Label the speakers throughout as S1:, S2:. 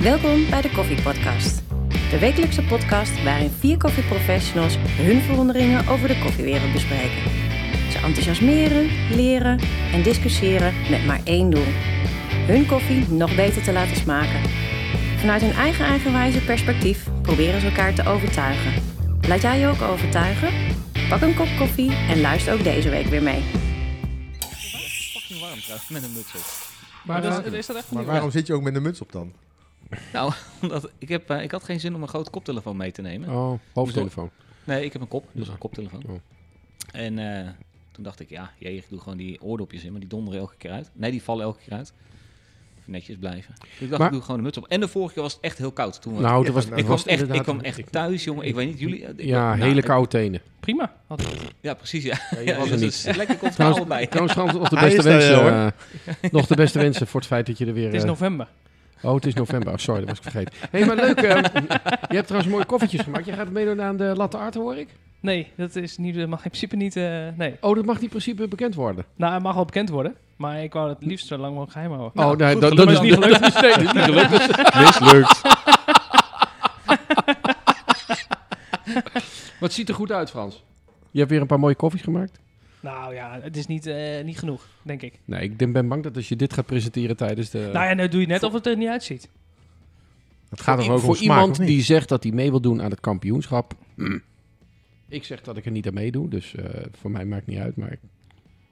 S1: Welkom bij de Koffie Podcast. De wekelijkse podcast waarin vier koffieprofessionals hun verwonderingen over de koffiewereld bespreken. Ze enthousiasmeren, leren en discussiëren met maar één doel: hun koffie nog beter te laten smaken. Vanuit hun eigen eigenwijze perspectief proberen ze elkaar te overtuigen. Laat jij je ook overtuigen? Pak een kop koffie en luister ook deze week weer mee.
S2: fucking warm trouwens, met een muts op.
S3: Maar,
S2: dat is,
S3: eh,
S2: is dat echt
S4: Maar
S2: niet
S4: waarom zit je ook met een muts op dan?
S2: waar? Nou, omdat ik, heb, eh, ik had geen zin om een grote koptelefoon mee te nemen.
S3: Oh, hoofdtelefoon.
S2: Nee, ik heb een kop, dus
S3: Ja.
S2: een koptelefoon.
S3: Oh.
S2: En eh, toen dacht ik, ja, jee, ik doe gewoon die oordopjes in, maar die donderen elke keer uit. Nee, die vallen elke keer uit. Even netjes blijven. Dus ik dacht,
S3: Maar-
S2: ik doe gewoon een muts op. En de vorige keer was het echt heel koud. Toen we,
S3: Nou,
S4: Ja,
S3: dat was,
S4: nou,
S2: ik,
S3: was
S2: kwam echt, ik
S3: inderdaad-
S2: kwam echt thuis, jongen. Ik, weet niet, jullie... eh, ik-
S3: Ja,
S2: nou,
S3: hele
S2: ik-
S3: koude tenen.
S5: Prima. Had ik het.
S2: Ja, precies, ja.
S3: je
S2: ja
S3: was er
S2: dus
S3: niet.
S2: het is lekker komt
S3: Trouwens-
S2: er bij.
S3: Trouwens, trouwens nog, de
S4: Hij
S3: beste
S4: is daar
S3: wensen,
S4: wel,
S3: eh, nog de beste wensen voor het feit dat je er weer...
S5: het is
S3: eh,
S5: november.
S3: Oh, het is november. Oh, sorry, dat was ik vergeten. Hé, hey, maar leuk. eh, je hebt trouwens mooie koffietjes gemaakt. Je gaat meedoen aan de latte art, hoor ik.
S5: Nee, dat is niet, dat mag in principe niet. eh, nee.
S3: Oh, dat mag niet in principe bekend worden.
S5: Nou, het mag wel bekend worden. Maar ik wou het liefst zo lang mogelijk geheim houden.
S3: oh, nee,
S5: Nou, goed,
S3: dat, dat
S5: gelukkig
S3: is niet gelukt. dat is niet gelukt. Mislukt. Wat ziet er goed uit, Frans? Je hebt weer een paar mooie koffies gemaakt?
S5: Nou ja, het is niet, eh, niet genoeg, denk ik.
S3: Nee, ik ben- ben bang dat als je dit gaat presenteren tijdens de...
S5: Nou ja, nou doe je net of het er niet uitziet.
S4: Het gaat er ook
S3: voor
S4: om smaak,
S3: iemand
S4: of niet?
S3: die zegt dat hij mee wil doen aan het kampioenschap. mm. Ik zeg dat ik er niet aan meedoe, dus eh, voor mij maakt niet uit. Maar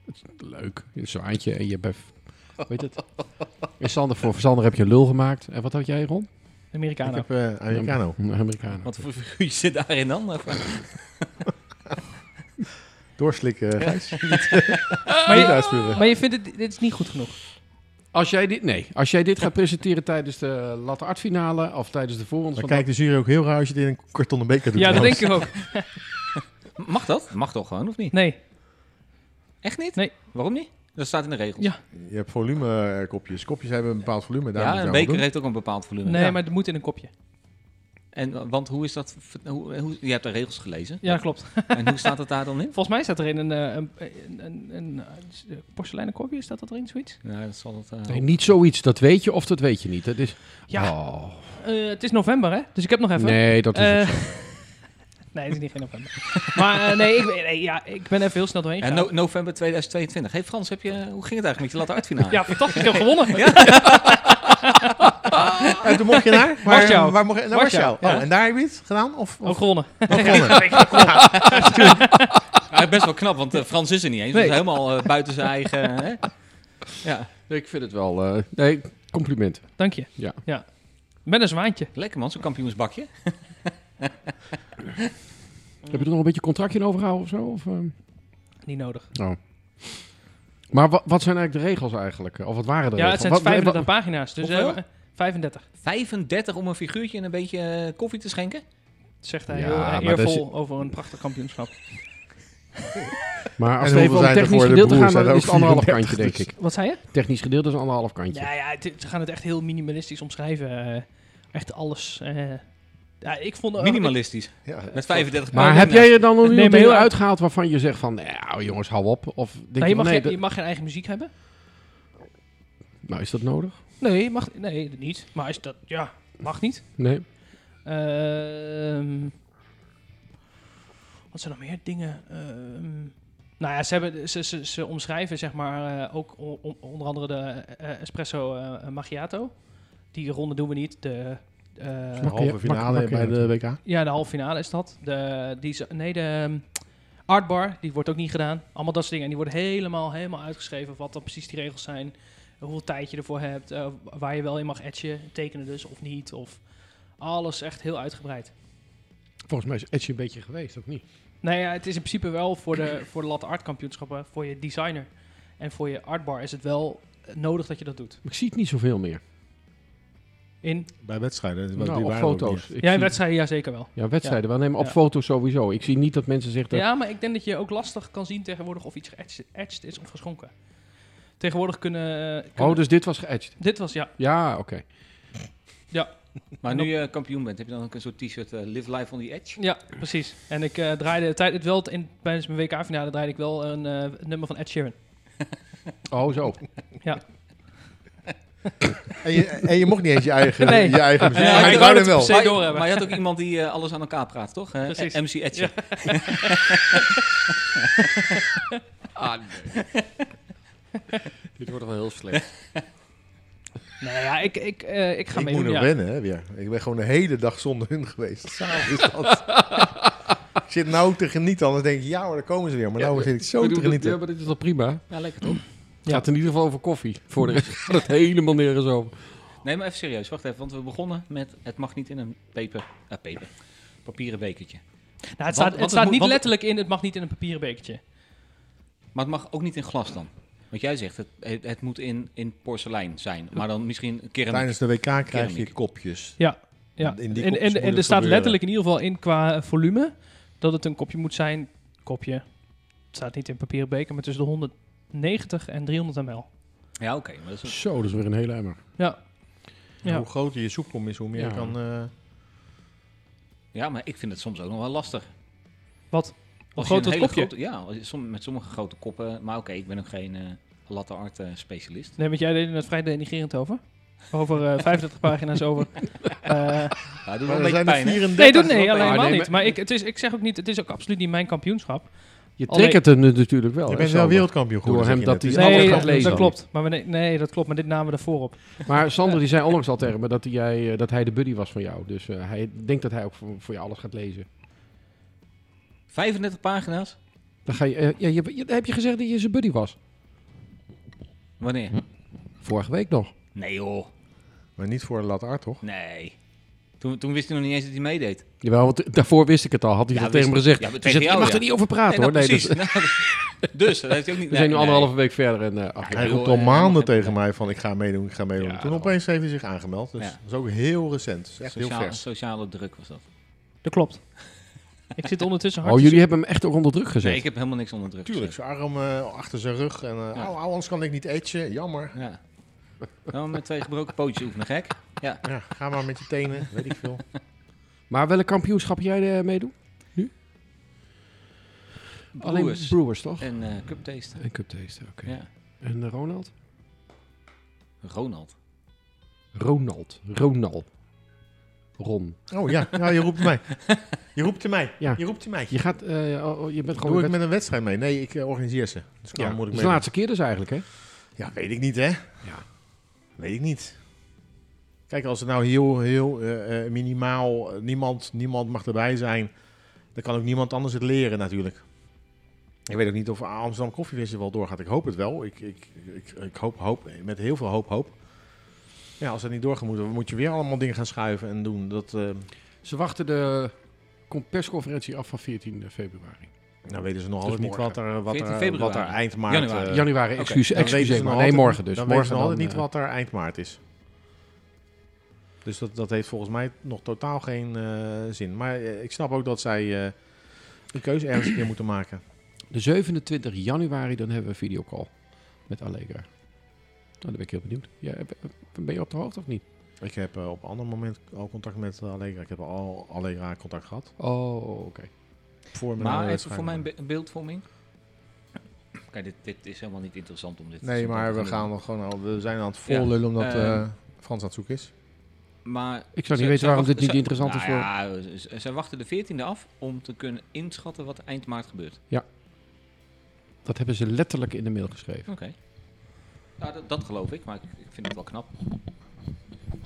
S3: het is leuk. Zo'n eindje en je bent... Weet het? En Sander, voor Sander heb je een lul gemaakt. En wat had jij, Ron?
S4: Ik
S5: Americano.
S4: heb eh Americano.
S3: Een Americano.
S2: Wat voor figuur zit daarin dan?
S4: Doorslikken, eh, Gijs.
S5: Maar,
S4: Niet
S5: je,
S4: uitspuren.
S5: maar je vindt het, dit is niet goed genoeg.
S3: Als jij dit, nee, als jij dit gaat presenteren tijdens de latte artfinale of tijdens de voorronde
S4: Dan
S3: van
S4: kijkt de jury ook heel raar als je dit in een kartonnen beker doet.
S5: Ja, dat denk
S4: trouwens.
S5: ik ook.
S2: Mag dat? Mag toch gewoon, of niet?
S5: Nee.
S2: Echt niet?
S5: Nee.
S2: Waarom niet? Dat staat in de regels.
S5: Ja,
S4: Je hebt volume eh, kopjes. Kopjes hebben een bepaald volume. Daar
S2: Ja, een beker heeft ook een bepaald volume.
S5: Nee,
S2: Ja.
S5: maar het moet in een kopje. want
S2: En, want hoe is dat? Hoe, eh, hoe, je hebt de regels gelezen.
S5: Ja, klopt.
S2: En hoe staat het daar dan in?
S5: Volgens mij staat er in een, eh, een, een, een, een, eh, porseleinen kopje, staat dat erin, zoiets?
S2: Ja, dat zal het. eh,
S3: Nee, niet zoiets, dat weet je of dat weet je niet. Dat is,
S5: Ja,
S3: Oh,
S5: eh, het is november hè, dus ik heb nog even.
S3: nee, dat is
S5: Eh,
S3: ook zo.
S5: Nee, het is niet geen november. maar eh, nee, ik, nee, ja, ik ben even heel snel doorheen
S2: en
S5: gegaan.
S2: no- november 2022. Hey Frans, heb je, hoe ging het eigenlijk met je latte uitfinale?
S5: Ja, fantastisch. Ik heb gewonnen.
S4: En Eh, toen mocht je naar?
S5: Warschau.
S4: Waar mocht je, naar Warschau.
S5: Warschau, ja. Oh,
S4: Oh, en daar heb je het gedaan? Of,
S5: Ook
S4: of
S5: gewonnen.
S2: Ah, best wel knap, want eh, Frans is er niet eens.
S5: Nee.
S2: Dus helemaal eh, buiten zijn eigen. hè? Ja,
S3: Nee, ik vind het wel... eh, nee, compliment.
S5: Dank je.
S3: Ja.
S5: ja. Met een zwaantje.
S2: lekker man, zo'n kampioensbakje.
S3: Heb je er nog een beetje contractje in overgehouden of zo? Of, eh?
S5: Niet nodig.
S3: Oh. Maar wa- wat zijn eigenlijk de regels eigenlijk? Of wat waren de
S5: Ja,
S3: regels?
S5: het zijn
S3: Wat-
S5: 35
S3: wat-
S5: pagina's. Dus eh,
S2: Hoeveel?
S5: 35,
S2: 35 om een figuurtje en een beetje eh, koffie te schenken.
S5: zegt hij
S3: Ja,
S5: heel eh,
S3: maar dus- dat
S5: eervol over een prachtig kampioenschap.
S3: Maar als
S4: En
S3: het even
S4: hoeveel
S3: om
S4: zijn er
S3: technisch
S4: voor de
S3: gedeelte
S4: broers?
S3: gaan, dan
S4: Zijn er
S3: is het
S4: ook
S3: anderhalf
S4: 34
S3: kantje, denk
S4: dus?
S3: ik.
S5: Wat zei je?
S3: Technisch gedeelte is een anderhalf kantje.
S5: Ja, ja het- ze gaan het echt heel minimalistisch omschrijven. eh, echt alles. eh. ja, Nou, ik vond...
S2: Minimalistisch.
S4: Ja.
S2: Met 35
S3: Maar
S2: pagina's.
S3: heb jij er dan nog
S5: Nee,
S3: een
S5: maar
S3: deel
S5: heel-
S3: uitgehaald waarvan je zegt van... Nou jongens, hou op. Of denk
S5: Nou,
S3: je
S5: je,
S3: van,
S5: mag
S3: nee,
S5: geen, je
S3: dat-
S5: mag geen eigen muziek hebben.
S3: nou is dat nodig?
S5: Nee, je mag, nee dat niet. Maar als dat... Ja, mag niet.
S3: Nee.
S5: Ehm, wat zijn nog meer dingen? Ehm, nou ja, ze, hebben, ze, ze, ze omschrijven zeg maar eh, ook o- o- onder andere de eh, espresso eh, macchiato. Die ronde doen we niet. De, eh,
S4: De halve finale
S3: Mak-
S4: bij
S3: mak-
S4: de WK.
S5: ja, de halve finale is dat. De, die, ze- nee, de ehm, artbar, die wordt ook niet gedaan. Allemaal dat soort dingen. En die worden helemaal, helemaal uitgeschreven wat dan precies die regels zijn. Hoeveel tijd je ervoor hebt. eh, waar je wel in mag etchen. Tekenen dus of niet. Of alles echt heel uitgebreid.
S3: Volgens mij is Edge een beetje geweest, of niet?
S5: Nou ja, het is in principe wel voor de, voor de latte art kampioenschappen, voor je designer en voor je artbar is het wel eh, nodig dat je dat doet.
S3: Ik zie het niet zoveel meer.
S5: In,
S4: Bij wedstrijden. die
S3: Nou, op
S4: waren er ook
S3: foto's.
S4: niet.
S3: Ik
S5: ja, in
S3: zie-
S5: wedstrijden ja zeker wel.
S3: Ja, wedstrijden wel. Nee, maar op
S5: Ja.
S3: foto's sowieso. Ik zie niet dat mensen zich... dat-
S5: Ja, maar ik denk dat je ook lastig kan zien tegenwoordig of iets geëtched etched is of geschonken. Tegenwoordig kunnen... eh, kunnen-
S3: Oh, dus dit was geëdged.
S5: Dit was, ja.
S3: Ja, oké.
S2: Maar nu je kampioen bent, heb je dan ook een soort t-shirt eh, Live Life on the Edge?
S5: Ja, precies. En ik eh, draaide tijd, wel in, tijdens mijn WK-finale draaide ik wel een eh, nummer van Ed Sheeran.
S3: Oh, zo.
S5: Ja.
S4: En je, en je mocht niet eens je eigen,
S5: Nee.
S4: je eigen muziek.
S5: Ja,
S4: maar
S5: ik
S4: ik
S5: wou
S4: wou hem
S5: het
S4: wel.
S5: precies-
S2: Maar,
S5: doorhebben.
S2: maar je had ook iemand die eh, alles aan elkaar praat, toch? Eh,
S5: Precies.
S2: MC Edge.
S3: Dit wordt wel heel slecht.
S5: Nou ja, ik, ik, eh, ik ga
S4: Ik
S5: mee
S4: moet
S5: doen.
S4: nog
S5: Ja.
S4: wennen, hè, weer. Ik ben gewoon de hele dag zonder hun geweest. Samen is dat. ik zit nou ook te genieten, anders denk ik, ja hoor, daar komen ze weer. Maar nou zit ik zo te genieten.
S3: Ja, maar dit is al prima.
S2: Ja, lekker toch?
S3: Het gaat in ieder geval over koffie. Voor de rest gaat het helemaal nergens over.
S2: Nee, maar even serieus. Wacht even, want we begonnen met het mag niet in een peper, eh, peper, papieren bekertje.
S5: Nou, het
S2: Want-
S5: staat,
S2: want
S5: het
S2: het
S5: staat
S2: moet-
S5: niet
S2: want-
S5: letterlijk in, het mag niet in een papieren bekertje.
S2: Maar het mag ook niet in glas dan. Want jij zegt, het, het, het moet in, in porselein zijn. Maar dan misschien keramiek.
S4: Tijdens de WK krijg
S2: Keramiek.
S4: je kopjes.
S5: Ja, ja.
S4: In
S5: En,
S4: die
S5: en,
S4: kopjes
S5: en
S4: moet
S5: er
S4: het
S5: staat
S4: gebeuren.
S5: letterlijk in ieder geval in qua eh, volume dat het een kopje moet zijn. Kopje. Het staat niet in papieren beker, maar tussen de 190 en 300 ml.
S2: Ja, oké. maar dat is
S3: Zo, dat is weer een hele emmer.
S5: Ja. Ja.
S4: Hoe groter je soepkom is, hoe meer
S3: Ja.
S4: je kan... eh,
S2: een- ja, maar ik vind het soms ook nog wel lastig.
S5: Wat?
S2: Als je
S5: groot
S2: een
S5: dat
S2: hele
S5: kopje?
S2: grote- ja, als je som- met sommige grote koppen. Maar oké, ik ben ook geen eh, latte art eh, specialist.
S5: Nee, want jij deed er net vrij denigrerend over. Over eh 35 pagina's over. Eh,
S2: Ja, doe wel
S4: maar
S2: een
S4: er
S2: beetje
S4: zijn er
S2: pijn, hè?
S4: 34.
S5: nee, doe nee,
S4: dat-
S5: alleen helemaal
S3: nee,
S5: niet.
S3: maar-
S5: Maar ik, het is, ik zeg ook niet, het is ook absoluut niet mijn kampioenschap.
S3: Je
S5: Alleen-
S3: triggert hem natuurlijk wel.
S4: Je
S3: hè,
S4: bent wel
S3: Sander.
S4: wereldkampioen
S3: Door
S4: geworden,
S3: hem
S4: zeg je
S3: dat
S4: net.
S3: hij
S4: Dus
S3: alles
S5: Nee,
S4: altijd
S3: gaat
S5: dat,
S4: lezen.
S3: lezen.
S5: klopt. Maar we, ne- nee, dat klopt. Maar dit namen we ervoor op.
S3: Maar Sander die zei onlangs al tegen me dat, jij, eh, dat hij de buddy was van jou. Dus eh, hij denkt dat hij ook voor, voor jou alles gaat lezen.
S2: 35 pagina's?
S3: Dan ga je, eh, ja, je, je- heb je gezegd dat je zijn buddy was?
S2: Wanneer?
S3: Vorige week nog.
S2: Nee joh,
S4: Maar niet voor een latte art, toch?
S2: nee. Toen, toen wist hij nog niet eens dat hij meedeed.
S3: Jawel, want eh, daarvoor wist ik het al. Had hij
S2: Ja,
S3: dat tegen me
S2: wist-
S3: gezegd.
S2: ja,
S3: Toen
S2: tegen
S3: zei hij,
S2: jou,
S3: je mag
S2: ja.
S3: er niet over praten
S2: nee,
S3: hoor.
S2: nou,
S3: Nee,
S2: precies.
S3: dat-
S2: Nou, dus, dat heeft hij ook niet...
S3: we zijn nu
S2: nee,
S3: anderhalve week verder. En, eh, ach,
S2: Ja,
S4: Hij
S2: joh,
S4: roept al
S2: eh,
S4: maanden
S2: helemaal-
S4: tegen mij van ik ga meedoen, ik ga meedoen.
S3: Ja,
S4: Toen
S3: dat
S4: opeens heeft hij zich aangemeld. Dus
S2: Ja.
S4: dat is ook heel recent. Dat is
S2: nee.
S4: echt heel
S2: Sociale,
S4: vers.
S2: sociale druk was dat.
S5: Dat klopt. Ik zit ondertussen hard
S3: oh,
S5: te
S3: jullie hebben hem echt ook onder druk gezet.
S2: Nee, ik heb helemaal niks onder druk
S4: Tuurlijk,
S2: gezet.
S4: zijn arm eh, achter zijn rug. En, eh,
S2: Ja.
S4: au, au, anders kan ik niet etchen. Jammer.
S2: Ja. Nou, met twee gebroken pootjes oefenen, gek. Ja.
S4: Ja, ga maar met je tenen, weet ik veel.
S3: Maar welk kampioenschap jij eh, meedoet? Nu? Alleen
S2: Brewers.
S3: Brewers, toch?
S2: En eh cup taste.
S3: En Cup Taste, oké.
S2: Ja.
S3: En eh, Ronald?
S2: Ronald.
S3: Ronald. Ronald. Ron.
S4: Oh ja, ja je roept mij. Je roept mij.
S3: Ja.
S4: Je roept mij.
S3: Je, gaat, eh, oh, oh, je bent gewoon...
S4: Doe ik
S3: een
S4: met een wedstrijd mee? Nee, ik eh, organiseer ze. Dus
S3: wet- Ja,
S4: ja, moet ik
S3: dat is
S4: mee.
S3: de laatste keer dus eigenlijk, hè?
S4: Ja, weet ik niet, hè?
S3: Ja.
S4: Weet ik niet. Kijk, als het nou heel, heel eh, eh, minimaal, eh, niemand, niemand mag erbij zijn, dan kan ook niemand anders het leren natuurlijk. Ik weet ook niet of Amsterdam Koffiefestival doorgaat. Ik hoop het wel. Ik, ik, ik, ik hoop, hoop, eh, met heel veel hoop, hoop. Ja, als dat niet doorgaat, moet, moet je weer allemaal dingen gaan schuiven en doen. Dat, eh,
S3: Ze wachten de com- persconferentie af van 14 februari.
S4: nou weten ze nog
S3: Dus
S4: altijd niet
S3: morgen.
S4: wat er, wat
S2: 14
S4: er,
S2: februari.
S4: wat er eind maart...
S2: Januari.
S4: eh,
S3: Januari, excuus,
S4: Dan weten
S3: excuus.
S4: ze nog
S3: maar. Nee,
S4: altijd-
S3: morgen dus.
S4: Dan weten
S3: morgen
S4: ze nog altijd niet
S3: eh,
S4: wat er eind maart is. Dus dat, dat heeft volgens mij nog totaal geen eh, zin. Maar eh, ik snap ook dat zij eh, een keuze ergens een keer moeten maken.
S3: De 27 januari, dan hebben we een videocall met Allegra. Nou, dan ben ik heel benieuwd. Ja, heb- heb- ben je op de hoogte of niet?
S4: Ik heb eh, op een ander moment al contact met Allegra. Ik heb al Allegra contact gehad.
S3: Oh, oké.
S4: Voor mijn
S2: Maar
S4: oude
S2: even voor mijn
S4: schijnbaar.
S2: be- beeldvorming. Kijk, dit, dit is helemaal niet interessant om dit
S4: Nee,
S2: zo te
S4: maar we,
S2: doen.
S4: gaan nog gewoon al, we zijn aan het
S2: Ja.
S4: vollullen omdat
S2: Eh,
S4: eh, Frans aan het zoeken is.
S2: Maar
S3: Ik zou
S2: Zij-
S3: niet weten
S2: zij
S3: waarom dit
S2: wachten-
S3: niet
S2: zij-
S3: interessant is voor...
S2: nou Ja, z- z- zij wachten de 14e af om te kunnen inschatten wat eind maart gebeurt.
S3: Dat hebben ze letterlijk in de mail geschreven.
S2: Oké. Nou, dat, dat geloof ik, maar ik, ik vind het wel knap.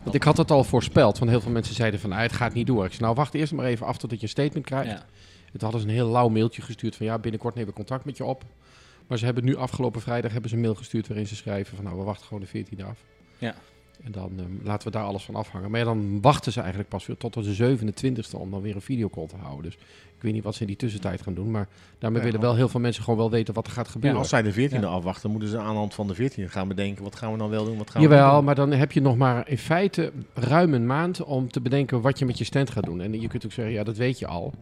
S3: Want ik had het al voorspeld, want heel veel mensen zeiden van... "Nou, het gaat niet door. Ik zei, nou, wacht eerst maar even af totdat je een statement krijgt.
S2: Ja.
S3: Het hadden ze een heel lauw mailtje gestuurd van... ja, binnenkort nemen we contact met je op. Maar ze hebben nu afgelopen vrijdag hebben ze een mail gestuurd... waarin ze schrijven van, nou, we wachten gewoon de 14e af.
S2: Ja.
S3: En dan ehm, laten we daar alles van afhangen. Maar ja, dan wachten ze eigenlijk pas weer tot de 27e... om dan weer een videocall te houden. Dus ik weet niet wat ze in die tussentijd gaan doen. Maar daarmee
S4: Ja,
S3: willen
S4: want-
S3: wel heel veel mensen gewoon wel weten... wat er gaat
S4: En
S3: gebeuren.
S4: als zij de 14e afwachten, moeten ze aan de hand van de 14e gaan bedenken. Wat gaan we dan wel doen? Wat gaan we niet
S3: Jawel,
S4: doen?
S3: maar dan heb je nog maar in feite ruim een maand om te bedenken wat je met je stand gaat doen. En je kunt ook zeggen, ja, dat weet je al.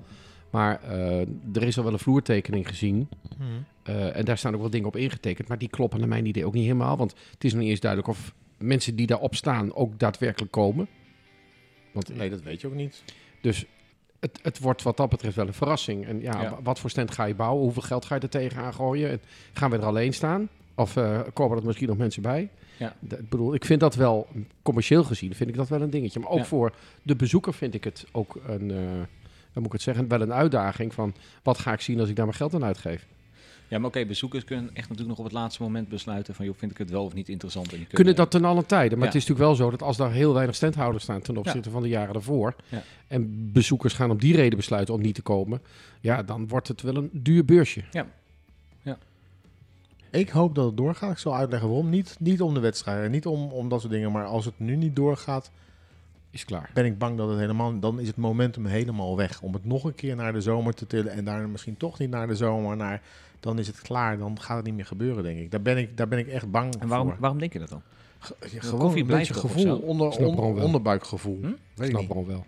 S3: Maar eh, er is al wel een vloertekening gezien.
S2: Hmm.
S4: Mhm.
S3: Eh, en daar staan ook wel dingen op ingetekend. Maar die kloppen naar mijn idee ook niet helemaal. Want het is nog niet eens duidelijk of mensen die daarop staan ook daadwerkelijk komen. Want,
S4: Nee, dat weet je ook niet.
S3: Dus het, het wordt wat dat betreft wel een verrassing. En ja,
S2: Ja.
S3: wa- wat voor stand ga je bouwen? Hoeveel geld ga je er tegenaan gooien? En gaan we er alleen staan? Of eh komen er misschien nog mensen bij?
S2: Ja.
S3: D- Ik bedoel, ik vind dat wel, commercieel gezien, vind ik dat wel een dingetje. Maar ook
S2: Ja.
S3: voor de bezoeker vind ik het ook een, eh, hoe moet ik het zeggen, wel een uitdaging van wat ga ik zien als ik daar mijn geld aan uitgeef.
S2: Ja, maar oké, bezoekers kunnen echt natuurlijk nog op het laatste moment besluiten van, joh, vind ik het wel of niet interessant. En die
S3: kunnen dat ten alle tijden. Maar
S2: Ja.
S3: het is natuurlijk wel zo dat als daar heel weinig standhouders staan ten opzichte van de jaren daarvoor.
S2: Ja.
S3: En bezoekers gaan om die reden besluiten om niet te komen. Ja, dan wordt het wel een duur beursje.
S4: Ik hoop dat het doorgaat. Ik zal uitleggen waarom. Niet, niet om de wedstrijd en niet om, om dat soort dingen. Maar als het nu niet doorgaat,
S3: Is klaar.
S4: ben ik bang dat het helemaal... Dan is het momentum helemaal weg. Om het nog een keer naar de zomer te tillen en daarna misschien toch niet naar de zomer. Naar, dan is het klaar. Dan gaat het niet meer gebeuren, denk ik. Daar ben ik, daar ben ik echt bang
S2: En waarom,
S4: voor.
S2: waarom denk je dat dan?
S4: Ge- ja,
S2: koffie
S4: gewoon een
S2: blijft
S4: beetje
S2: toch of zo?
S4: gevoel. Onder,
S3: Snap
S4: onder-
S3: Bron wel.
S4: onderbuikgevoel.
S2: Hm?
S4: Weet ik
S3: Snap
S4: niet.
S3: Bron wel.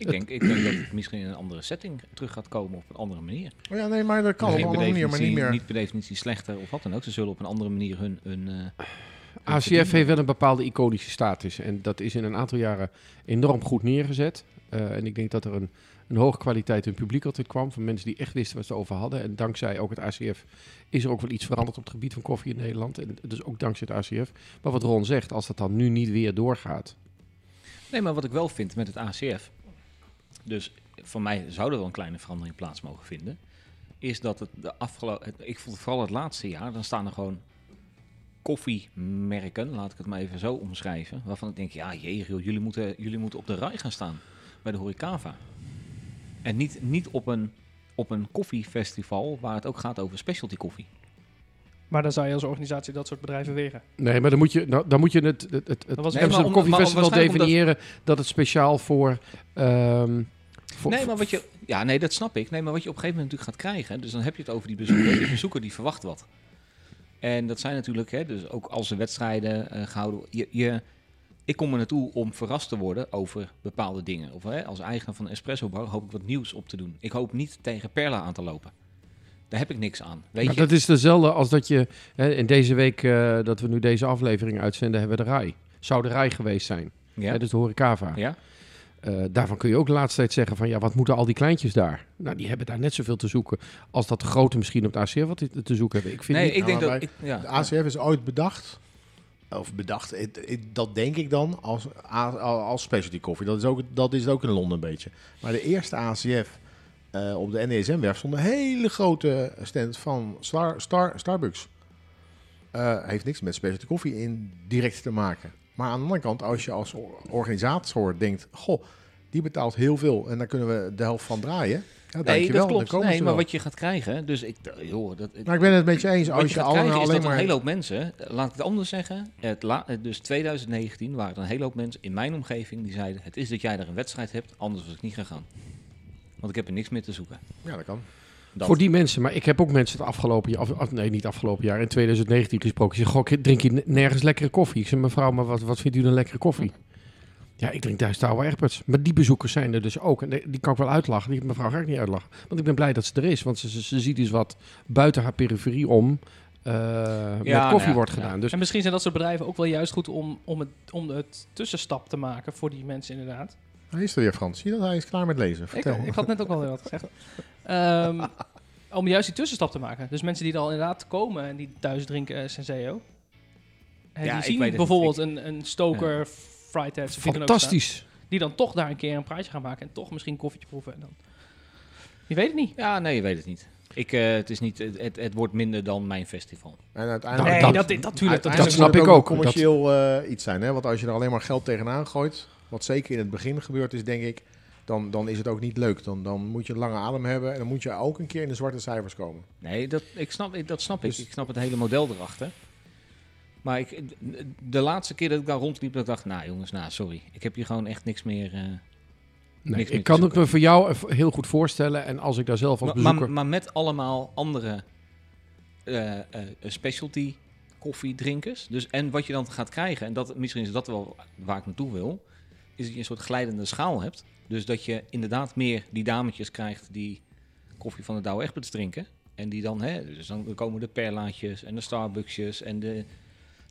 S2: Ik denk, ik denk dat het misschien in een andere setting terug gaat komen op een andere manier.
S4: Oh ja, nee, maar dat kan op
S2: Niet
S4: een
S2: per
S4: andere manier. Maar niet
S2: definitie-
S4: meer...
S2: Niet per definitie slechter of wat dan ook. Ze zullen op een andere manier hun... hun eh,
S3: ACF heeft wel een bepaalde iconische status. En dat is in een aantal jaren enorm goed neergezet. Eh, en ik denk dat er een, een hoge kwaliteit in publiek altijd kwam. Van mensen die echt wisten wat ze over hadden. En dankzij ook het ACF is er ook wel iets veranderd op het gebied van koffie in Nederland. En dus ook dankzij het ACF. Maar wat Ron zegt, als dat dan nu niet weer doorgaat.
S2: Nee, maar wat ik wel vind met het ACF... Dus voor mij zou er wel een kleine verandering plaats mogen vinden. Is dat het de afgelopen... Ik vond vooral het laatste jaar, dan staan er gewoon koffiemerken, laat ik het maar even zo omschrijven, waarvan ik denk, ja, jee, joh, jullie moeten, jullie moeten op de rij gaan staan bij de Horikava. En niet, niet op, een, op een koffiefestival waar het ook gaat over specialty koffie.
S5: Maar dan zou je als organisatie dat soort bedrijven weren.
S3: Nee, maar dan moet je, nou, dan moet je het, het, het, het
S5: Dat was-
S3: Amsterdam
S2: Nee, maar om-
S3: Coffee
S2: maar om-
S3: Festival
S2: waarschijnlijk omdat-
S3: definiëren dat het speciaal voor... ehm, voor
S2: nee, maar wat je, ja, nee, dat snap ik. Nee, maar wat je op een gegeven moment natuurlijk gaat krijgen, dus dan heb je het over die bezoeker. Die bezoeker die verwacht wat. En dat zijn natuurlijk, hè, dus ook als er wedstrijden eh, gehouden worden. Je, je, ik kom er naartoe om verrast te worden over bepaalde dingen. Of hè, als eigenaar van een espresso bar hoop ik wat nieuws op te doen. Ik hoop niet tegen Perla aan te lopen. Daar heb ik niks aan. Weet
S3: Maar
S2: je?
S3: Nou, dat is dezelfde als dat je... Hè, in deze week eh, dat we nu deze aflevering uitzenden, hebben we de RAI. Zou de RAI geweest zijn.
S2: ja?
S3: Hè, dus de Horecava.
S2: ja?
S3: Eh, daarvan kun je ook de laatste tijd zeggen van... Ja, wat moeten al die kleintjes daar? Nou, die hebben daar net zoveel te zoeken... als dat de grote misschien op het ACF wat te- te zoeken hebben. Ik vind
S2: Nee,
S3: niet-
S2: ik denk
S4: Nou,
S2: dat... Ik, ja.
S4: De ACF is ooit bedacht. Of bedacht, het- het- dat denk ik dan, als, a- als specialty koffie. Dat is, ook, dat is het ook in Londen een beetje. Maar de eerste ACF eh, op de NDSM-werf stond een hele grote stand van Star, Star, Starbucks. Eh, heeft niks met specialty koffie in direct te maken. Maar aan de andere kant, als je als or- organisator denkt... Goh, die betaalt heel veel en daar kunnen we de helft van draaien. Ja,
S2: Nee, dat
S4: dankjewel, dan
S2: klopt.
S4: komen
S2: Nee,
S4: ze
S2: maar
S4: wel.
S2: wat je gaat krijgen... Dus ik, joh, dat,
S4: Maar ik ben het met je eens.
S2: Wat
S4: Als
S2: je
S4: je
S2: gaat
S4: alleen,
S2: krijgen is
S4: alleen
S2: dat een
S4: maar...
S2: hele hoop mensen, eh, laat ik het anders zeggen, het la- eh, dus 2019 waren er een hele hoop mensen in mijn omgeving die zeiden, het is dat jij daar een wedstrijd hebt, anders was ik niet gegaan. Want ik heb er niks meer te zoeken.
S4: Ja, dat kan.
S2: Dat.
S3: Voor die mensen, maar ik heb ook mensen het afgelopen jaar, af, af- nee niet afgelopen jaar, in 2019 gesproken. Ze zeggen, "Goh, drink je ne- nergens lekkere koffie? Ik zeg, mevrouw, maar wat, wat vindt u dan lekkere koffie? Ja, ik drink thuis de oude Egberts. Maar die bezoekers zijn er dus ook. En de- die kan ik wel uitlachen. Die mevrouw ga ik niet uitlachen. Want ik ben blij dat ze er is. Want ze, ze, ze ziet dus wat buiten haar periferie om eh,
S2: nou
S3: met koffie
S2: ja,
S3: wordt
S2: ja.
S3: gedaan. Dus
S5: En misschien zijn dat soort bedrijven ook wel juist goed om, om, het, om het tussenstap te maken voor die mensen inderdaad.
S4: Hij is er weer, Frans. Zie je dat? Hij is klaar met lezen.
S5: Ik,
S4: Vertel.
S5: ik had net ook al weer wat gezegd. Ehm, om juist die tussenstap te maken. Dus mensen die er al inderdaad komen en die thuis drinken eh, Senseo. En
S2: Ja, ik
S5: die zien
S2: weet het
S5: bijvoorbeeld
S2: niet.
S5: een, een stoker, fried heads of wie dan ook
S3: fantastisch.
S5: staan, Die dan toch daar een keer een praatje gaan maken en toch misschien een koffietje proeven. En dan. Je weet het niet.
S2: Ja, nee, je weet het niet. Ik, eh, het, is niet het, het, het wordt minder dan mijn festival.
S4: En
S2: Nou,
S4: uiteindelijk...
S3: Nee,
S5: nee,
S3: dat-
S5: dat, dat, natuurlijk. Dat,
S4: uiteindelijk
S5: is
S3: dat snap
S4: moet het
S3: ik
S4: een
S3: ook.
S4: commercieel eh, iets zijn. Hè? Want als je er alleen maar geld tegenaan gooit... wat zeker in het begin gebeurd is, denk ik... dan, dan is het ook niet leuk. Dan, dan moet je een lange adem hebben... en dan moet je ook een keer in de zwarte cijfers komen.
S2: Nee, dat, ik snap, ik- dat snap
S4: Dus-
S2: ik. Ik snap het hele model erachter. Maar ik, de laatste keer dat ik daar rondliep, dat ik dacht, nou jongens, nou sorry. Ik heb hier gewoon echt niks meer... eh,
S3: Nee,
S2: Niks meer
S3: ik
S2: te
S3: kan het
S2: zoeken.
S3: me voor jou eh, heel goed voorstellen. En als ik daar zelf als
S2: Maar,
S3: bezoeker...
S2: maar, maar met allemaal andere eh, eh, specialty koffiedrinkers. Dus, en wat je dan gaat krijgen, en dat, misschien is dat wel waar ik naartoe wil, is dat je een soort glijdende schaal hebt. Dus dat je inderdaad meer die dametjes krijgt die koffie van de Douwe Egberts drinken. En die dan, hè, dus dan komen de perlaatjes en de Starbucksjes en de,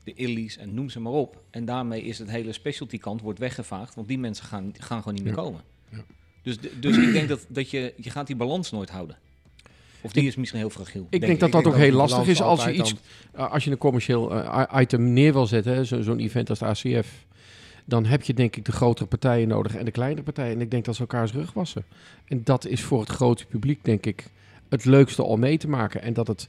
S2: de Illies en noem ze maar op. En daarmee is het hele specialty kant wordt weggevaagd, want die mensen gaan, gaan gewoon niet meer
S3: Ja.
S2: komen.
S3: Ja.
S2: Dus, de- dus ik denk dat, dat je, je gaat die balans nooit houden. Of die is misschien heel fragiel.
S3: Ik denk dat dat ook heel
S4: die
S3: lastig
S4: balans
S3: is als je
S4: altijd
S3: iets, eh, als je een commercieel eh, i- item neer wil zetten, hè, zo- zo'n event als de ACF, dan heb je denk ik de grotere partijen nodig en de kleinere partijen. En ik denk dat ze elkaars rug wassen. En dat is voor het grote publiek denk ik het leukste om mee te maken. En dat het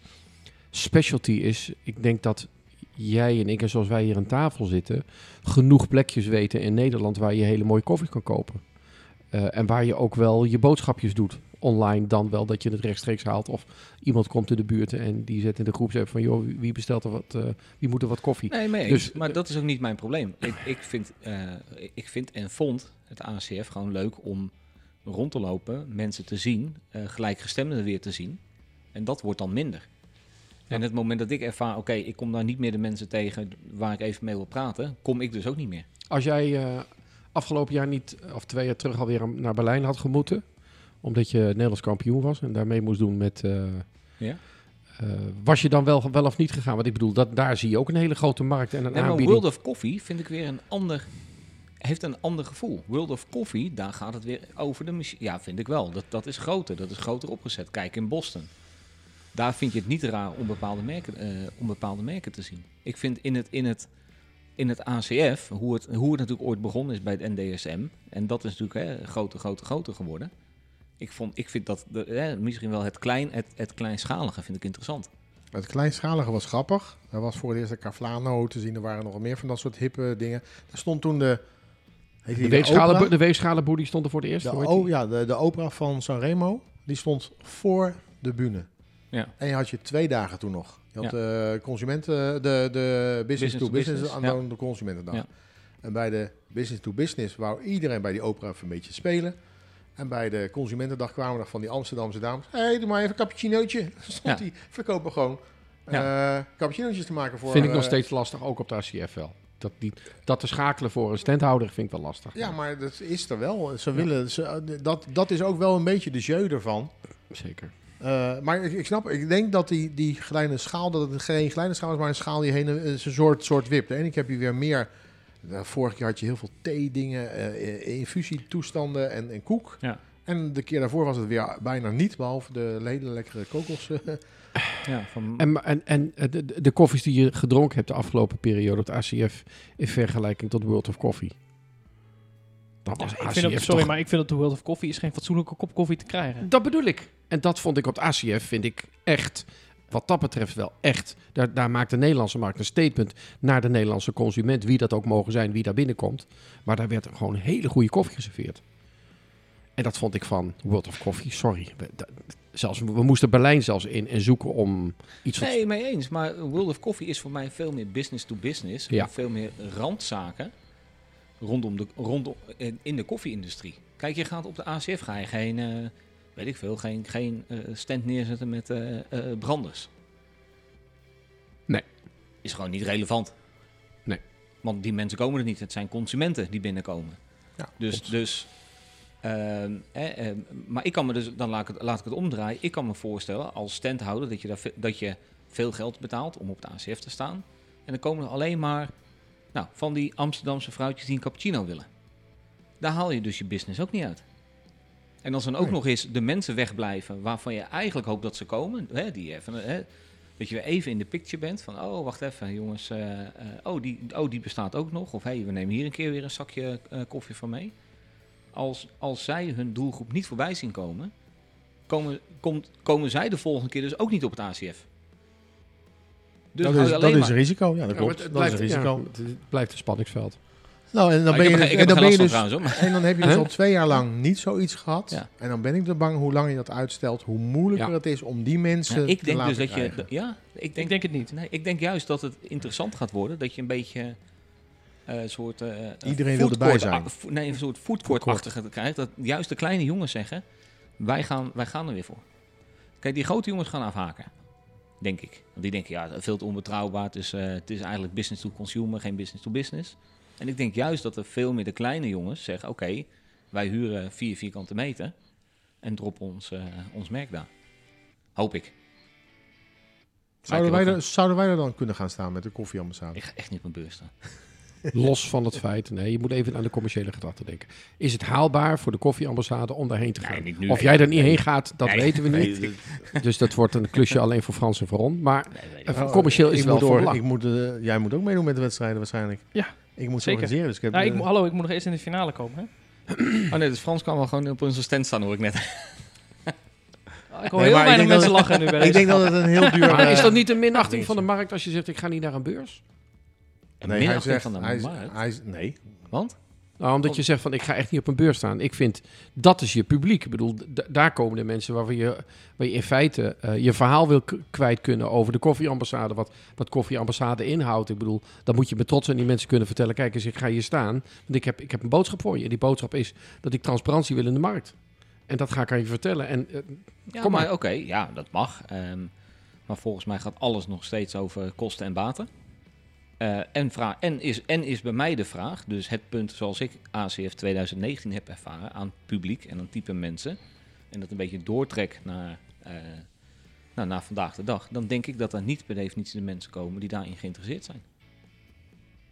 S3: specialty is, ik denk dat jij en ik en zoals wij hier aan tafel zitten, genoeg plekjes weten in Nederland waar je hele mooie koffie kan kopen. Eh, en waar je ook wel je boodschapjes doet online, dan wel dat je het rechtstreeks haalt. Of iemand komt in de buurt en die zet in de groepsapp van... joh, wie bestelt er wat, eh, wie moet er wat koffie?
S2: Nee, mee
S3: Dus-
S2: eens. maar dat is ook niet mijn probleem. Ik, ik, vind, eh, ik vind en vond het ACF gewoon leuk om rond te lopen, mensen te zien, eh, gelijkgestemden weer te zien. En dat wordt dan minder. En het moment dat ik ervaar, oké, ik kom daar niet meer de mensen tegen waar ik even mee wil praten, kom ik dus ook niet meer.
S3: Als jij eh, afgelopen jaar niet, eh, of twee jaar terug alweer naar Berlijn had gemoeten... omdat je Nederlands kampioen was en daarmee moest doen met... eh,
S2: Ja.
S3: eh, was je dan wel, wel of niet gegaan? Want ik bedoel, dat, daar zie je ook een hele grote markt en
S2: Nee,
S3: een
S2: maar
S3: aanbieding.
S2: World of Coffee vind ik weer een ander, heeft een ander gevoel. World of Coffee, daar gaat het weer over de machine. Ja, vind ik wel. Dat, dat is groter, dat is groter opgezet. Kijk in Boston. Daar vind je het niet raar om bepaalde merken, eh, om bepaalde merken te zien. Ik vind in het, in het, in het ACF, hoe het, hoe het natuurlijk ooit begonnen is bij het NDSM, en dat is natuurlijk hè, groter, groter, groter geworden. Ik, vond, ik vind dat de, hè, misschien wel het, klein, het, het kleinschalige vind ik interessant.
S4: Het kleinschalige was grappig. Er was voor het eerst de Carflano te zien. Er waren nog meer van dat soort hippe dingen. Er stond toen de... heet die
S3: De weegschalenboer-
S4: Oprah?
S3: de weegschalenboer die stond er voor het eerst.
S4: De,
S3: hoe heet
S4: o-
S3: die?
S4: ja, de, de opera van Sanremo, die stond voor de bühne.
S2: Ja.
S4: En je had je twee dagen toen nog. Je had
S2: Ja.
S4: de consumenten, eh, de, de business,
S2: Business
S4: to
S2: to
S4: business,
S2: business,
S4: en
S2: ja.
S4: dan de consumentendag.
S2: Ja.
S4: En bij de business to business wou iedereen bij die opera even een beetje spelen. En bij de consumentendag kwamen er van die Amsterdamse dames. Hé, hey, doe maar even een cappuccinootje. Dan Stond
S2: Ja.
S4: die verkoper gewoon eh, cappuccinootjes te maken voor...
S3: Vind ik nog
S4: eh,
S3: steeds lastig, ook op de ACF wel. Dat, die, dat te schakelen voor een standhouder vind ik wel lastig.
S4: Ja, maar dat is er wel. Ze willen, ze, eh, dat, dat is ook wel een beetje de jeu ervan.
S3: Zeker.
S4: Eh, maar ik, ik snap, ik denk dat die, die glijde schaal, dat het geen glijde schaal is, maar een schaal die heen eh, is een soort, soort wip. De ene keer heb je weer meer. eh, vorig jaar had je heel veel theedingen, eh infusietoestanden en, en koek.
S2: Ja.
S4: En de keer daarvoor was het weer bijna niet, behalve de hele lekkere kokos.
S2: Dus
S4: eh.
S2: Ja, van,
S5: Mhm.
S3: En, maar- en, en eh, de, de- de koffies die je gedronken hebt de afgelopen periode op de ACF in vergelijking tot World of Coffee. Dat was
S5: ik
S3: ACF
S5: vind het, sorry,
S3: toch-
S5: maar ik vind dat de World of Coffee is geen fatsoenlijke kop koffie te krijgen.
S3: Dat bedoel ik. En dat vond ik op de ACF, vind ik echt, wat dat betreft wel echt. Daar, daar maakt de Nederlandse markt een statement naar de Nederlandse consument. Wie dat ook mogen zijn, wie daar binnenkomt. Maar daar werd gewoon hele goede koffie geserveerd. En dat vond ik van World of Coffee, sorry. We, da- zelfs, we moesten Berlijn zelfs in en zoeken om iets wat
S2: Nee, mee eens. Maar World of Coffee is voor mij veel meer business to business.
S3: Ja.
S2: En veel meer randzaken rondom de, rondom, eh, in de koffieindustrie. Kijk, je gaat op de ACF ga je geen, eh, weet ik veel, geen, geen eh, stand neerzetten met eh, eh, branders.
S3: Nee.
S2: Is gewoon niet relevant.
S3: Nee.
S2: Want die mensen komen er niet. Het zijn consumenten die binnenkomen.
S4: Ja,
S2: Dus, dus ehm, hè, ehm, maar ik kan me dus, dan laat ik, het, laat ik het omdraaien. Ik kan me voorstellen als standhouder dat je, daar, ve- dat je veel geld betaalt om op de ACF te staan. En dan komen er alleen maar nou, van die Amsterdamse vrouwtjes die een cappuccino willen. Daar haal je dus je business ook niet uit. En als dan ook
S4: Nee.
S2: nog eens de mensen wegblijven waarvan je eigenlijk hoopt dat ze komen, hè, die even, hè, dat je weer even in de picture bent van, oh wacht even jongens, eh, eh, oh, die, oh die bestaat ook nog, of hey, we nemen hier een keer weer een zakje eh, koffie van mee. Als, als zij hun doelgroep niet voorbij zien komen, komen, komt, komen zij de volgende keer dus ook niet op het ACF. Dus
S4: dat
S2: hou
S4: is,
S2: je
S4: dat
S2: alleen
S4: is
S2: maar-
S4: een risico. Ja,
S3: Ja,
S4: dat
S3: maar
S4: klopt.
S3: het
S4: dat is
S3: blijft-
S4: een
S3: ja,
S4: risico.
S3: het blijft een spanningsveld.
S4: Nou, en dan ben
S2: ik
S4: je,
S2: heb,
S4: dus-
S2: geen- ik
S4: en
S2: heb er
S4: dan
S2: geen
S4: ben je
S2: last van
S4: dus
S2: trouwens, hoor, maar-
S4: En dan heb je dus
S3: Huh?
S4: al twee jaar lang niet zoiets gehad.
S2: Ja.
S4: En dan ben ik er bang hoe langer je dat uitstelt, hoe moeilijker
S3: Ja.
S4: het is om die
S2: Ja,
S4: mensen
S2: ik
S4: te
S2: denk
S4: laten
S2: dus dat je.
S4: krijgen.
S2: Ja, ik
S5: Ik
S2: denk,
S5: denk het niet.
S2: nee, ik denk juist dat het interessant gaat worden. Dat je een beetje. eh, een soort. eh, eh,
S4: Iedereen wil
S2: foodcourt-
S4: erbij zijn.
S2: ah, fo- nee, een soort foodcourt-achtige krijgt. Dat juist de kleine jongens zeggen: wij gaan, wij gaan er weer voor. Kijk, die grote jongens gaan afhaken. Denk ik. Want die denken, ja, veel te onbetrouwbaar. Het is, eh, het is eigenlijk business to consumer, geen business to business. En ik denk juist dat er veel meer de kleine jongens zeggen: oké, wij huren vier vierkante meter en droppen ons, eh, ons merk daar. Hoop ik.
S4: Zouden wij,
S2: Lijkt er wel
S4: er, zouden wij er dan kunnen gaan staan met de koffieambassade?
S2: Ik ga echt niet op mijn beurs staan.
S3: Los van het feit, nee, je moet even aan de commerciële gedachten denken. Is het haalbaar voor de koffieambassade om daarheen te gaan?
S2: Nee, niet nu.
S3: of jij er niet heen gaat, dat
S2: Nee.
S3: weten we niet.
S4: Nee,
S3: Dus dat wordt een klusje alleen voor Frans en Veron. Maar eh,
S4: Oh,
S3: commercieel
S4: ik
S3: is het wel
S4: moet
S3: van
S4: door-
S3: belang.
S4: ik moet, eh, Jij moet ook meedoen met de wedstrijden waarschijnlijk.
S5: Ja,
S4: Ik moet ze
S5: zeker.
S4: organiseren, dus ik heb...
S5: Nou, ik,
S4: eh,
S5: mo- hallo, ik moet nog eerst in de finale komen. Hè?
S2: Oh nee, dus Frans kan wel gewoon op onze stand staan, hoor ik net.
S5: Ik hoor
S4: Nee,
S5: heel
S4: maar ik
S5: weinig
S4: denk
S5: mensen
S4: dat-
S5: lachen nu bij
S4: ik
S5: deze
S4: denk dat het een heel duur...
S3: Maar is
S4: eh,
S3: dat niet een minachting
S4: nee,
S3: van de markt als je zegt, ik ga niet naar een beurs?
S2: Een
S4: Nee, hij
S2: minachting
S4: zegt...
S2: van de
S4: hij is-
S2: markt.
S4: hij is- Nee,
S2: Want?
S3: Nou, omdat je zegt van ik ga echt niet op een beurs staan. Ik vind dat is je publiek. Ik bedoel, d- daar komen de mensen waarvan je, waar je in feite eh, je verhaal wil k- kwijt kunnen over de koffieambassade. Wat, wat koffieambassade inhoudt. Ik bedoel, dan moet je met trots aan die mensen kunnen vertellen. Kijk eens, ik ga hier staan. Want ik heb, ik heb een boodschap voor je. En die boodschap is dat ik transparantie wil in de markt. En dat ga ik aan je vertellen. En eh,
S2: Ja,
S3: Kom
S2: maar
S3: maar.
S2: oké, ja, dat mag. Ehm, maar volgens mij gaat alles nog steeds over kosten en baten. Eh, en, vra- en, is, en is bij mij de vraag, dus het punt zoals ik ACF 2019 heb ervaren aan publiek en aan type mensen, en dat een beetje doortrek naar, eh, nou, naar vandaag de dag, dan denk ik dat er niet per definitie de mensen komen die daarin geïnteresseerd zijn.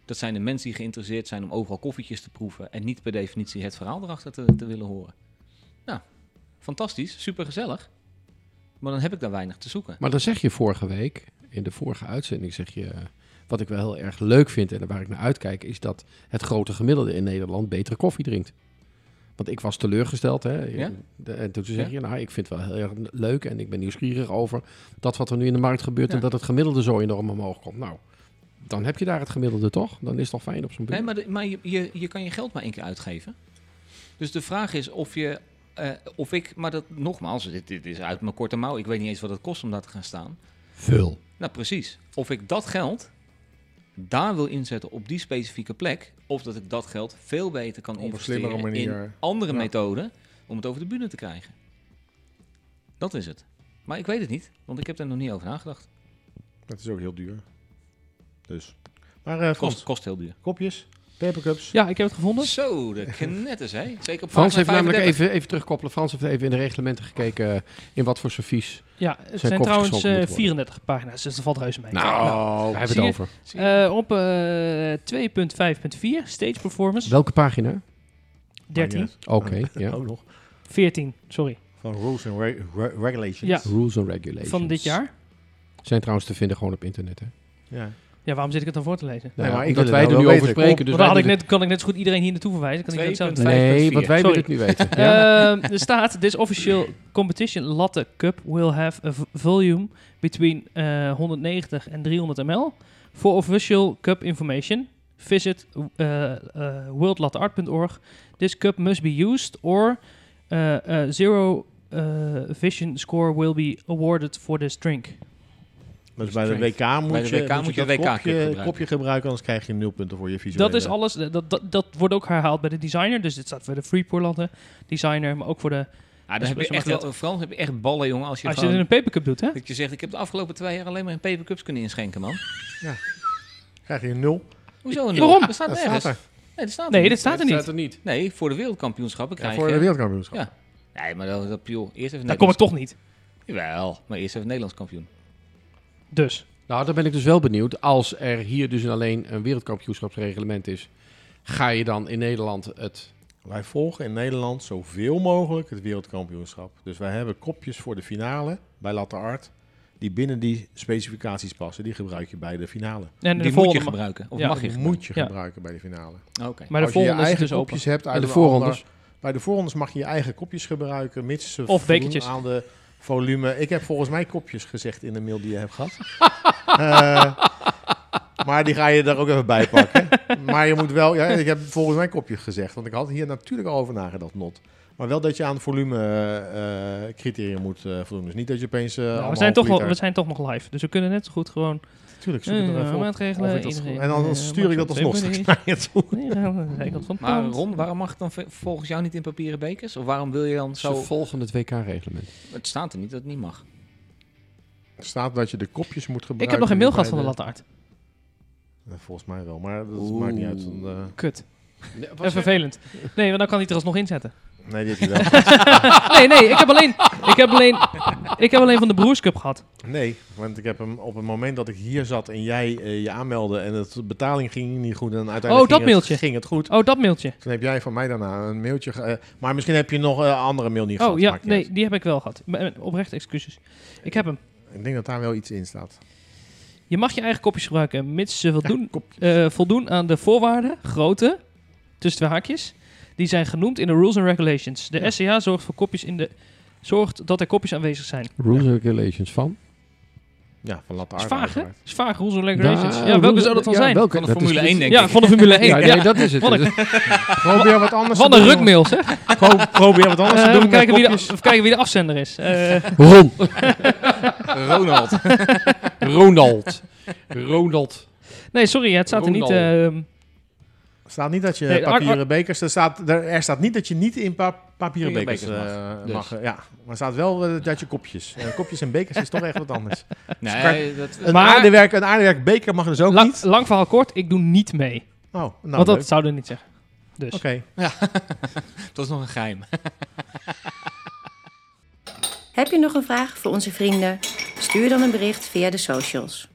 S2: Dat zijn de mensen die geïnteresseerd zijn om overal koffietjes te proeven en niet per definitie het verhaal erachter te, te willen horen. Nou, fantastisch, supergezellig. Maar dan heb ik daar weinig te zoeken.
S3: Maar dan zeg je vorige week, in de vorige uitzending zeg je... eh, Wat ik wel heel erg leuk vind en waar ik naar uitkijk... is dat het grote gemiddelde in Nederland betere koffie drinkt. Want ik was teleurgesteld. Hè?
S2: Ja?
S3: De- en toen zeg je, nou, ik vind het wel heel erg leuk... en ik ben nieuwsgierig over dat wat er nu in de markt gebeurt...
S2: Ja.
S3: en dat het gemiddelde zo enorm omhoog komt. Nou, dan heb je daar het gemiddelde toch? Dan is het al fijn op zo'n
S2: Nee,
S3: beurt.
S2: maar, de- maar je, je, je kan je geld maar één keer uitgeven. Dus de vraag is of je, eh, of ik, maar dat nogmaals, dit, dit is uit mijn korte mouw. Ik weet niet eens wat het kost om daar te gaan staan.
S3: Vul.
S2: Nou, precies. Of ik dat geld daar wil inzetten op die specifieke plek, of dat ik dat geld veel beter kan
S4: Op een
S2: investeren
S4: slimmere manier.
S2: in andere
S4: Ja.
S2: methoden om het over de bühne te krijgen. Dat is het. Maar ik weet het niet, want ik heb daar nog niet over nagedacht.
S4: dat is ook heel duur. Dus. Maar eh
S2: Kost,
S4: Frans,
S2: kost heel duur.
S4: kopjes, papercups.
S5: Ja, ik heb het gevonden.
S2: Zo, de knetters, hè? Zeker op
S3: Frans
S2: pagina
S3: heeft namelijk
S2: 35.
S3: even, even terugkoppelen. Frans heeft even in de reglementen gekeken... eh, in wat voor servies.
S5: Ja, het
S3: Zijn
S5: zijn
S3: koffie
S5: trouwens
S3: geschonken
S5: eh,
S3: moeten worden.
S5: 34 pagina's, dus dat valt reuze mee.
S3: Nou, daar hebben we
S5: zie
S3: het
S5: je?
S3: over.
S5: Eh, op eh 2.5.4, stage performance,
S3: Welke pagina?
S4: Maakt
S5: 13,
S4: niet uit.
S3: Oké,
S2: Oh.
S3: ja.
S4: Ook nog.
S5: 14, sorry,
S4: Van Rules and Re- Re- Regulations.
S5: Ja.
S3: Rules and Regulations.
S5: van dit jaar.
S3: Zijn trouwens te vinden gewoon op internet, hè? Nou
S4: Ja.
S5: Ja, waarom zit ik het dan voor te lezen?
S4: Nee, maar ik wil
S3: dat
S4: het
S3: wij
S4: nou
S3: er
S4: wel
S3: nu over
S4: weten.
S3: spreken.
S4: Kom.
S3: Dus
S5: Want
S3: wij
S5: dan had ik
S3: moeten-
S5: net, kan ik net zo goed iedereen hier naartoe verwijzen. Kan ik net zelf
S2: 2.5. net-
S3: Nee,
S2: 5.4.
S3: want wij
S5: Sorry.
S3: willen het nu weten. ja.
S5: Ehm, er staat, this official competition latte cup will have a v- volume between eh, 190 en 300 ml. For official cup information, visit eh, eh, worldlatteart.org. This cup must be used or eh, eh, zero eh, vision score will be awarded for this drink.
S4: Dus bij de WK moet
S2: Bij de
S4: je,
S2: WK moet je
S4: dat
S2: WK -cup
S4: kopje,
S2: gebruiken.
S4: kopje gebruiken, anders krijg je nul punten voor je visuele.
S5: Dat is alles, dat, dat, dat wordt ook herhaald bij de designer. Dus dit staat voor de Freeport latte designer, maar ook voor de...
S2: Ja, dan
S5: Dus
S2: Ah, heb je
S5: best
S2: echt
S5: wel
S2: wel, Frans heb je echt ballen, jongen. Als je,
S5: Als je het
S2: gewoon-
S5: in een papercup doet, hè?
S2: dat je zegt, ik heb de afgelopen twee jaar alleen maar in papercups kunnen inschenken, man.
S4: Krijg je een nul.
S2: Hoezo? een
S5: Waarom?
S2: Dat staat
S4: Dat
S2: nergens.
S4: staat er.
S2: Nee, dat staat er
S5: Nee, dit
S2: niet.
S5: staat er niet.
S3: er niet.
S2: Nee, voor de wereldkampioenschappen
S4: Ja,
S2: krijg
S4: voor
S3: eh,
S4: de
S2: je...
S4: wereldkampioenschap.
S2: Ja. Nee, maar dat, dat joh, eerst even...
S5: Daar kom ik toch niet.
S2: Wel, maar eerst even Nederlands kampioen.
S5: Dus.
S3: Nou, dan ben ik dus wel benieuwd. Als er hier dus alleen een wereldkampioenschapsreglement is, ga je dan in Nederland het...
S4: Wij volgen in Nederland zoveel mogelijk het wereldkampioenschap. Dus wij hebben kopjes voor de finale bij Latte Art. Die binnen die specificaties passen. Die gebruik je bij de finale.
S5: En
S2: Die
S5: de
S2: moet je
S5: volgende ma-
S2: gebruiken. Of
S5: Ja,
S2: mag je
S4: Die
S2: gebruiken. Ah,
S4: moet je
S5: Ja.
S4: gebruiken bij de finale.
S2: Oké.
S5: Maar de
S4: Als je je
S5: volgende is
S4: eigen
S5: dus open.
S4: kopjes eh, hebt uit
S3: En de
S4: een ander-
S3: voorrondes?
S4: bij de voorrondes mag je je eigen kopjes gebruiken, mits ze
S5: Of
S4: voldoen
S5: bekertjes.
S4: aan de volume. Ik heb volgens mij kopjes gezegd in de mail die je hebt gehad. Eh, maar die ga je er ook even bij pakken. maar je moet wel, ja, ik heb volgens mij kopjes gezegd, want ik had hier natuurlijk al over nagedacht, Not. Maar wel dat je aan volume eh, eh, criteria moet eh, voldoen. Dus niet dat je opeens. eh,
S5: Nou, we,
S4: anderhalf
S5: zijn toch wel,
S4: liter-
S5: we zijn toch nog live, dus we kunnen net zo goed gewoon...
S4: Tuurlijk, zoek het
S5: Eh,
S4: er even op.
S5: maatregelen,
S4: Of ik dat-
S5: iedereen,
S4: En
S5: eh,
S4: dan stuur ik dat
S5: mag
S4: alsnog
S5: zo'n
S4: straks naar je toe.
S5: Nee, gaan we aan de zijkant van het
S2: Maar
S5: pand.
S2: Ron, waarom mag het dan v- volgens jou niet in papieren bekers? Of waarom wil je dan
S3: Zo
S2: zo...
S3: volgen het WK-reglement.
S2: Het staat er niet dat het niet mag.
S4: Er staat dat je de kopjes moet gebruiken.
S5: Ik heb nog geen mail
S4: die
S5: gehad van
S4: bij
S5: de lattaart.
S4: Eh, Volgens mij wel, maar dat
S2: Oeh.
S4: maakt niet uit. Dan, eh,
S5: Kut. En vervelend. Nee, want dan kan hij het er alsnog inzetten.
S4: nee, dit is wel.
S5: Nee, nee, ik heb alleen... Ik heb alleen... Ik heb alleen van de Broers Cup gehad.
S4: Nee, want ik heb hem op het moment dat ik hier zat en jij eh, je aanmeldde en het, de betaling ging niet goed en uiteindelijk
S5: Oh, dat
S4: ging,
S5: mailtje.
S4: Het, ging het goed.
S5: Oh, dat mailtje.
S4: Toen heb jij van mij daarna een mailtje. ge- eh, maar misschien heb je nog een andere mail niet
S5: Oh
S4: gehad.
S5: ja,
S4: maakt niet
S5: nee, die heb ik wel gehad. M- m- Oprecht excuses. Ik heb hem.
S4: uit. Ik denk dat daar wel iets in staat.
S5: Je mag je eigen kopjes gebruiken, mits ze voldoen, eh, voldoen aan de voorwaarden, grootte, tussen de haakjes, die zijn genoemd in de Rules and Regulations. De SCA zorgt, voor kopjes in de, zorgt dat er kopjes aanwezig zijn.
S3: Rules and regulations van?
S4: Ja, van latte
S5: Dat is
S4: aarde
S5: vaag, hè? Dat
S4: uiteraard.
S5: is vaag, Rules and Regulations.
S3: Nou,
S5: ja, welke
S3: rules-
S5: zou dat dan
S3: ja,
S5: zijn?
S3: welke-
S2: Van de
S3: dat is
S2: Formule
S3: niet-
S2: 1, denk
S5: ja,
S2: ik.
S5: van de Formule 1.
S3: Ja,
S5: Ja,
S3: nee, dat is het.
S5: Wat een-
S3: Dus-
S4: Probeer wat anders
S5: Van
S4: te
S5: een
S4: doen.
S5: rukmail, zeg.
S4: Pro- Probeer wat anders
S5: Eh,
S4: te doen.
S5: even, kijken
S4: met
S5: wie de,
S4: kopjes.
S5: even kijken wie de afzender is. Eh,
S3: Ron.
S2: Ronald.
S3: Ronald. Ronald.
S5: nee, sorry, het staat er niet.
S2: Ronald.
S5: ehm,
S4: Er staat niet dat je
S5: Nee, ar-
S4: papieren
S5: ar-
S4: bekers... Er staat, er, er staat niet dat je niet in pa-
S2: Papieren
S4: papieren bekers
S2: bekers
S4: eh,
S2: Dus.
S4: mag. eh, ja, maar er staat wel eh, dat je kopjes... eh, kopjes en bekers is toch echt wat anders.
S2: Nee, dat,
S4: Een,
S5: Maar-
S4: aardewerk, een aardewerk beker mag dus ook
S5: lang,
S4: niet.
S5: lang verhaal kort, ik doe niet mee.
S4: Oh, nou
S5: want
S4: leuk.
S5: dat zouden we niet zeggen. Dus.
S4: Oké.
S2: dat is nog een geheim.
S1: Heb je nog een vraag voor onze vrienden? Stuur dan een bericht via de socials.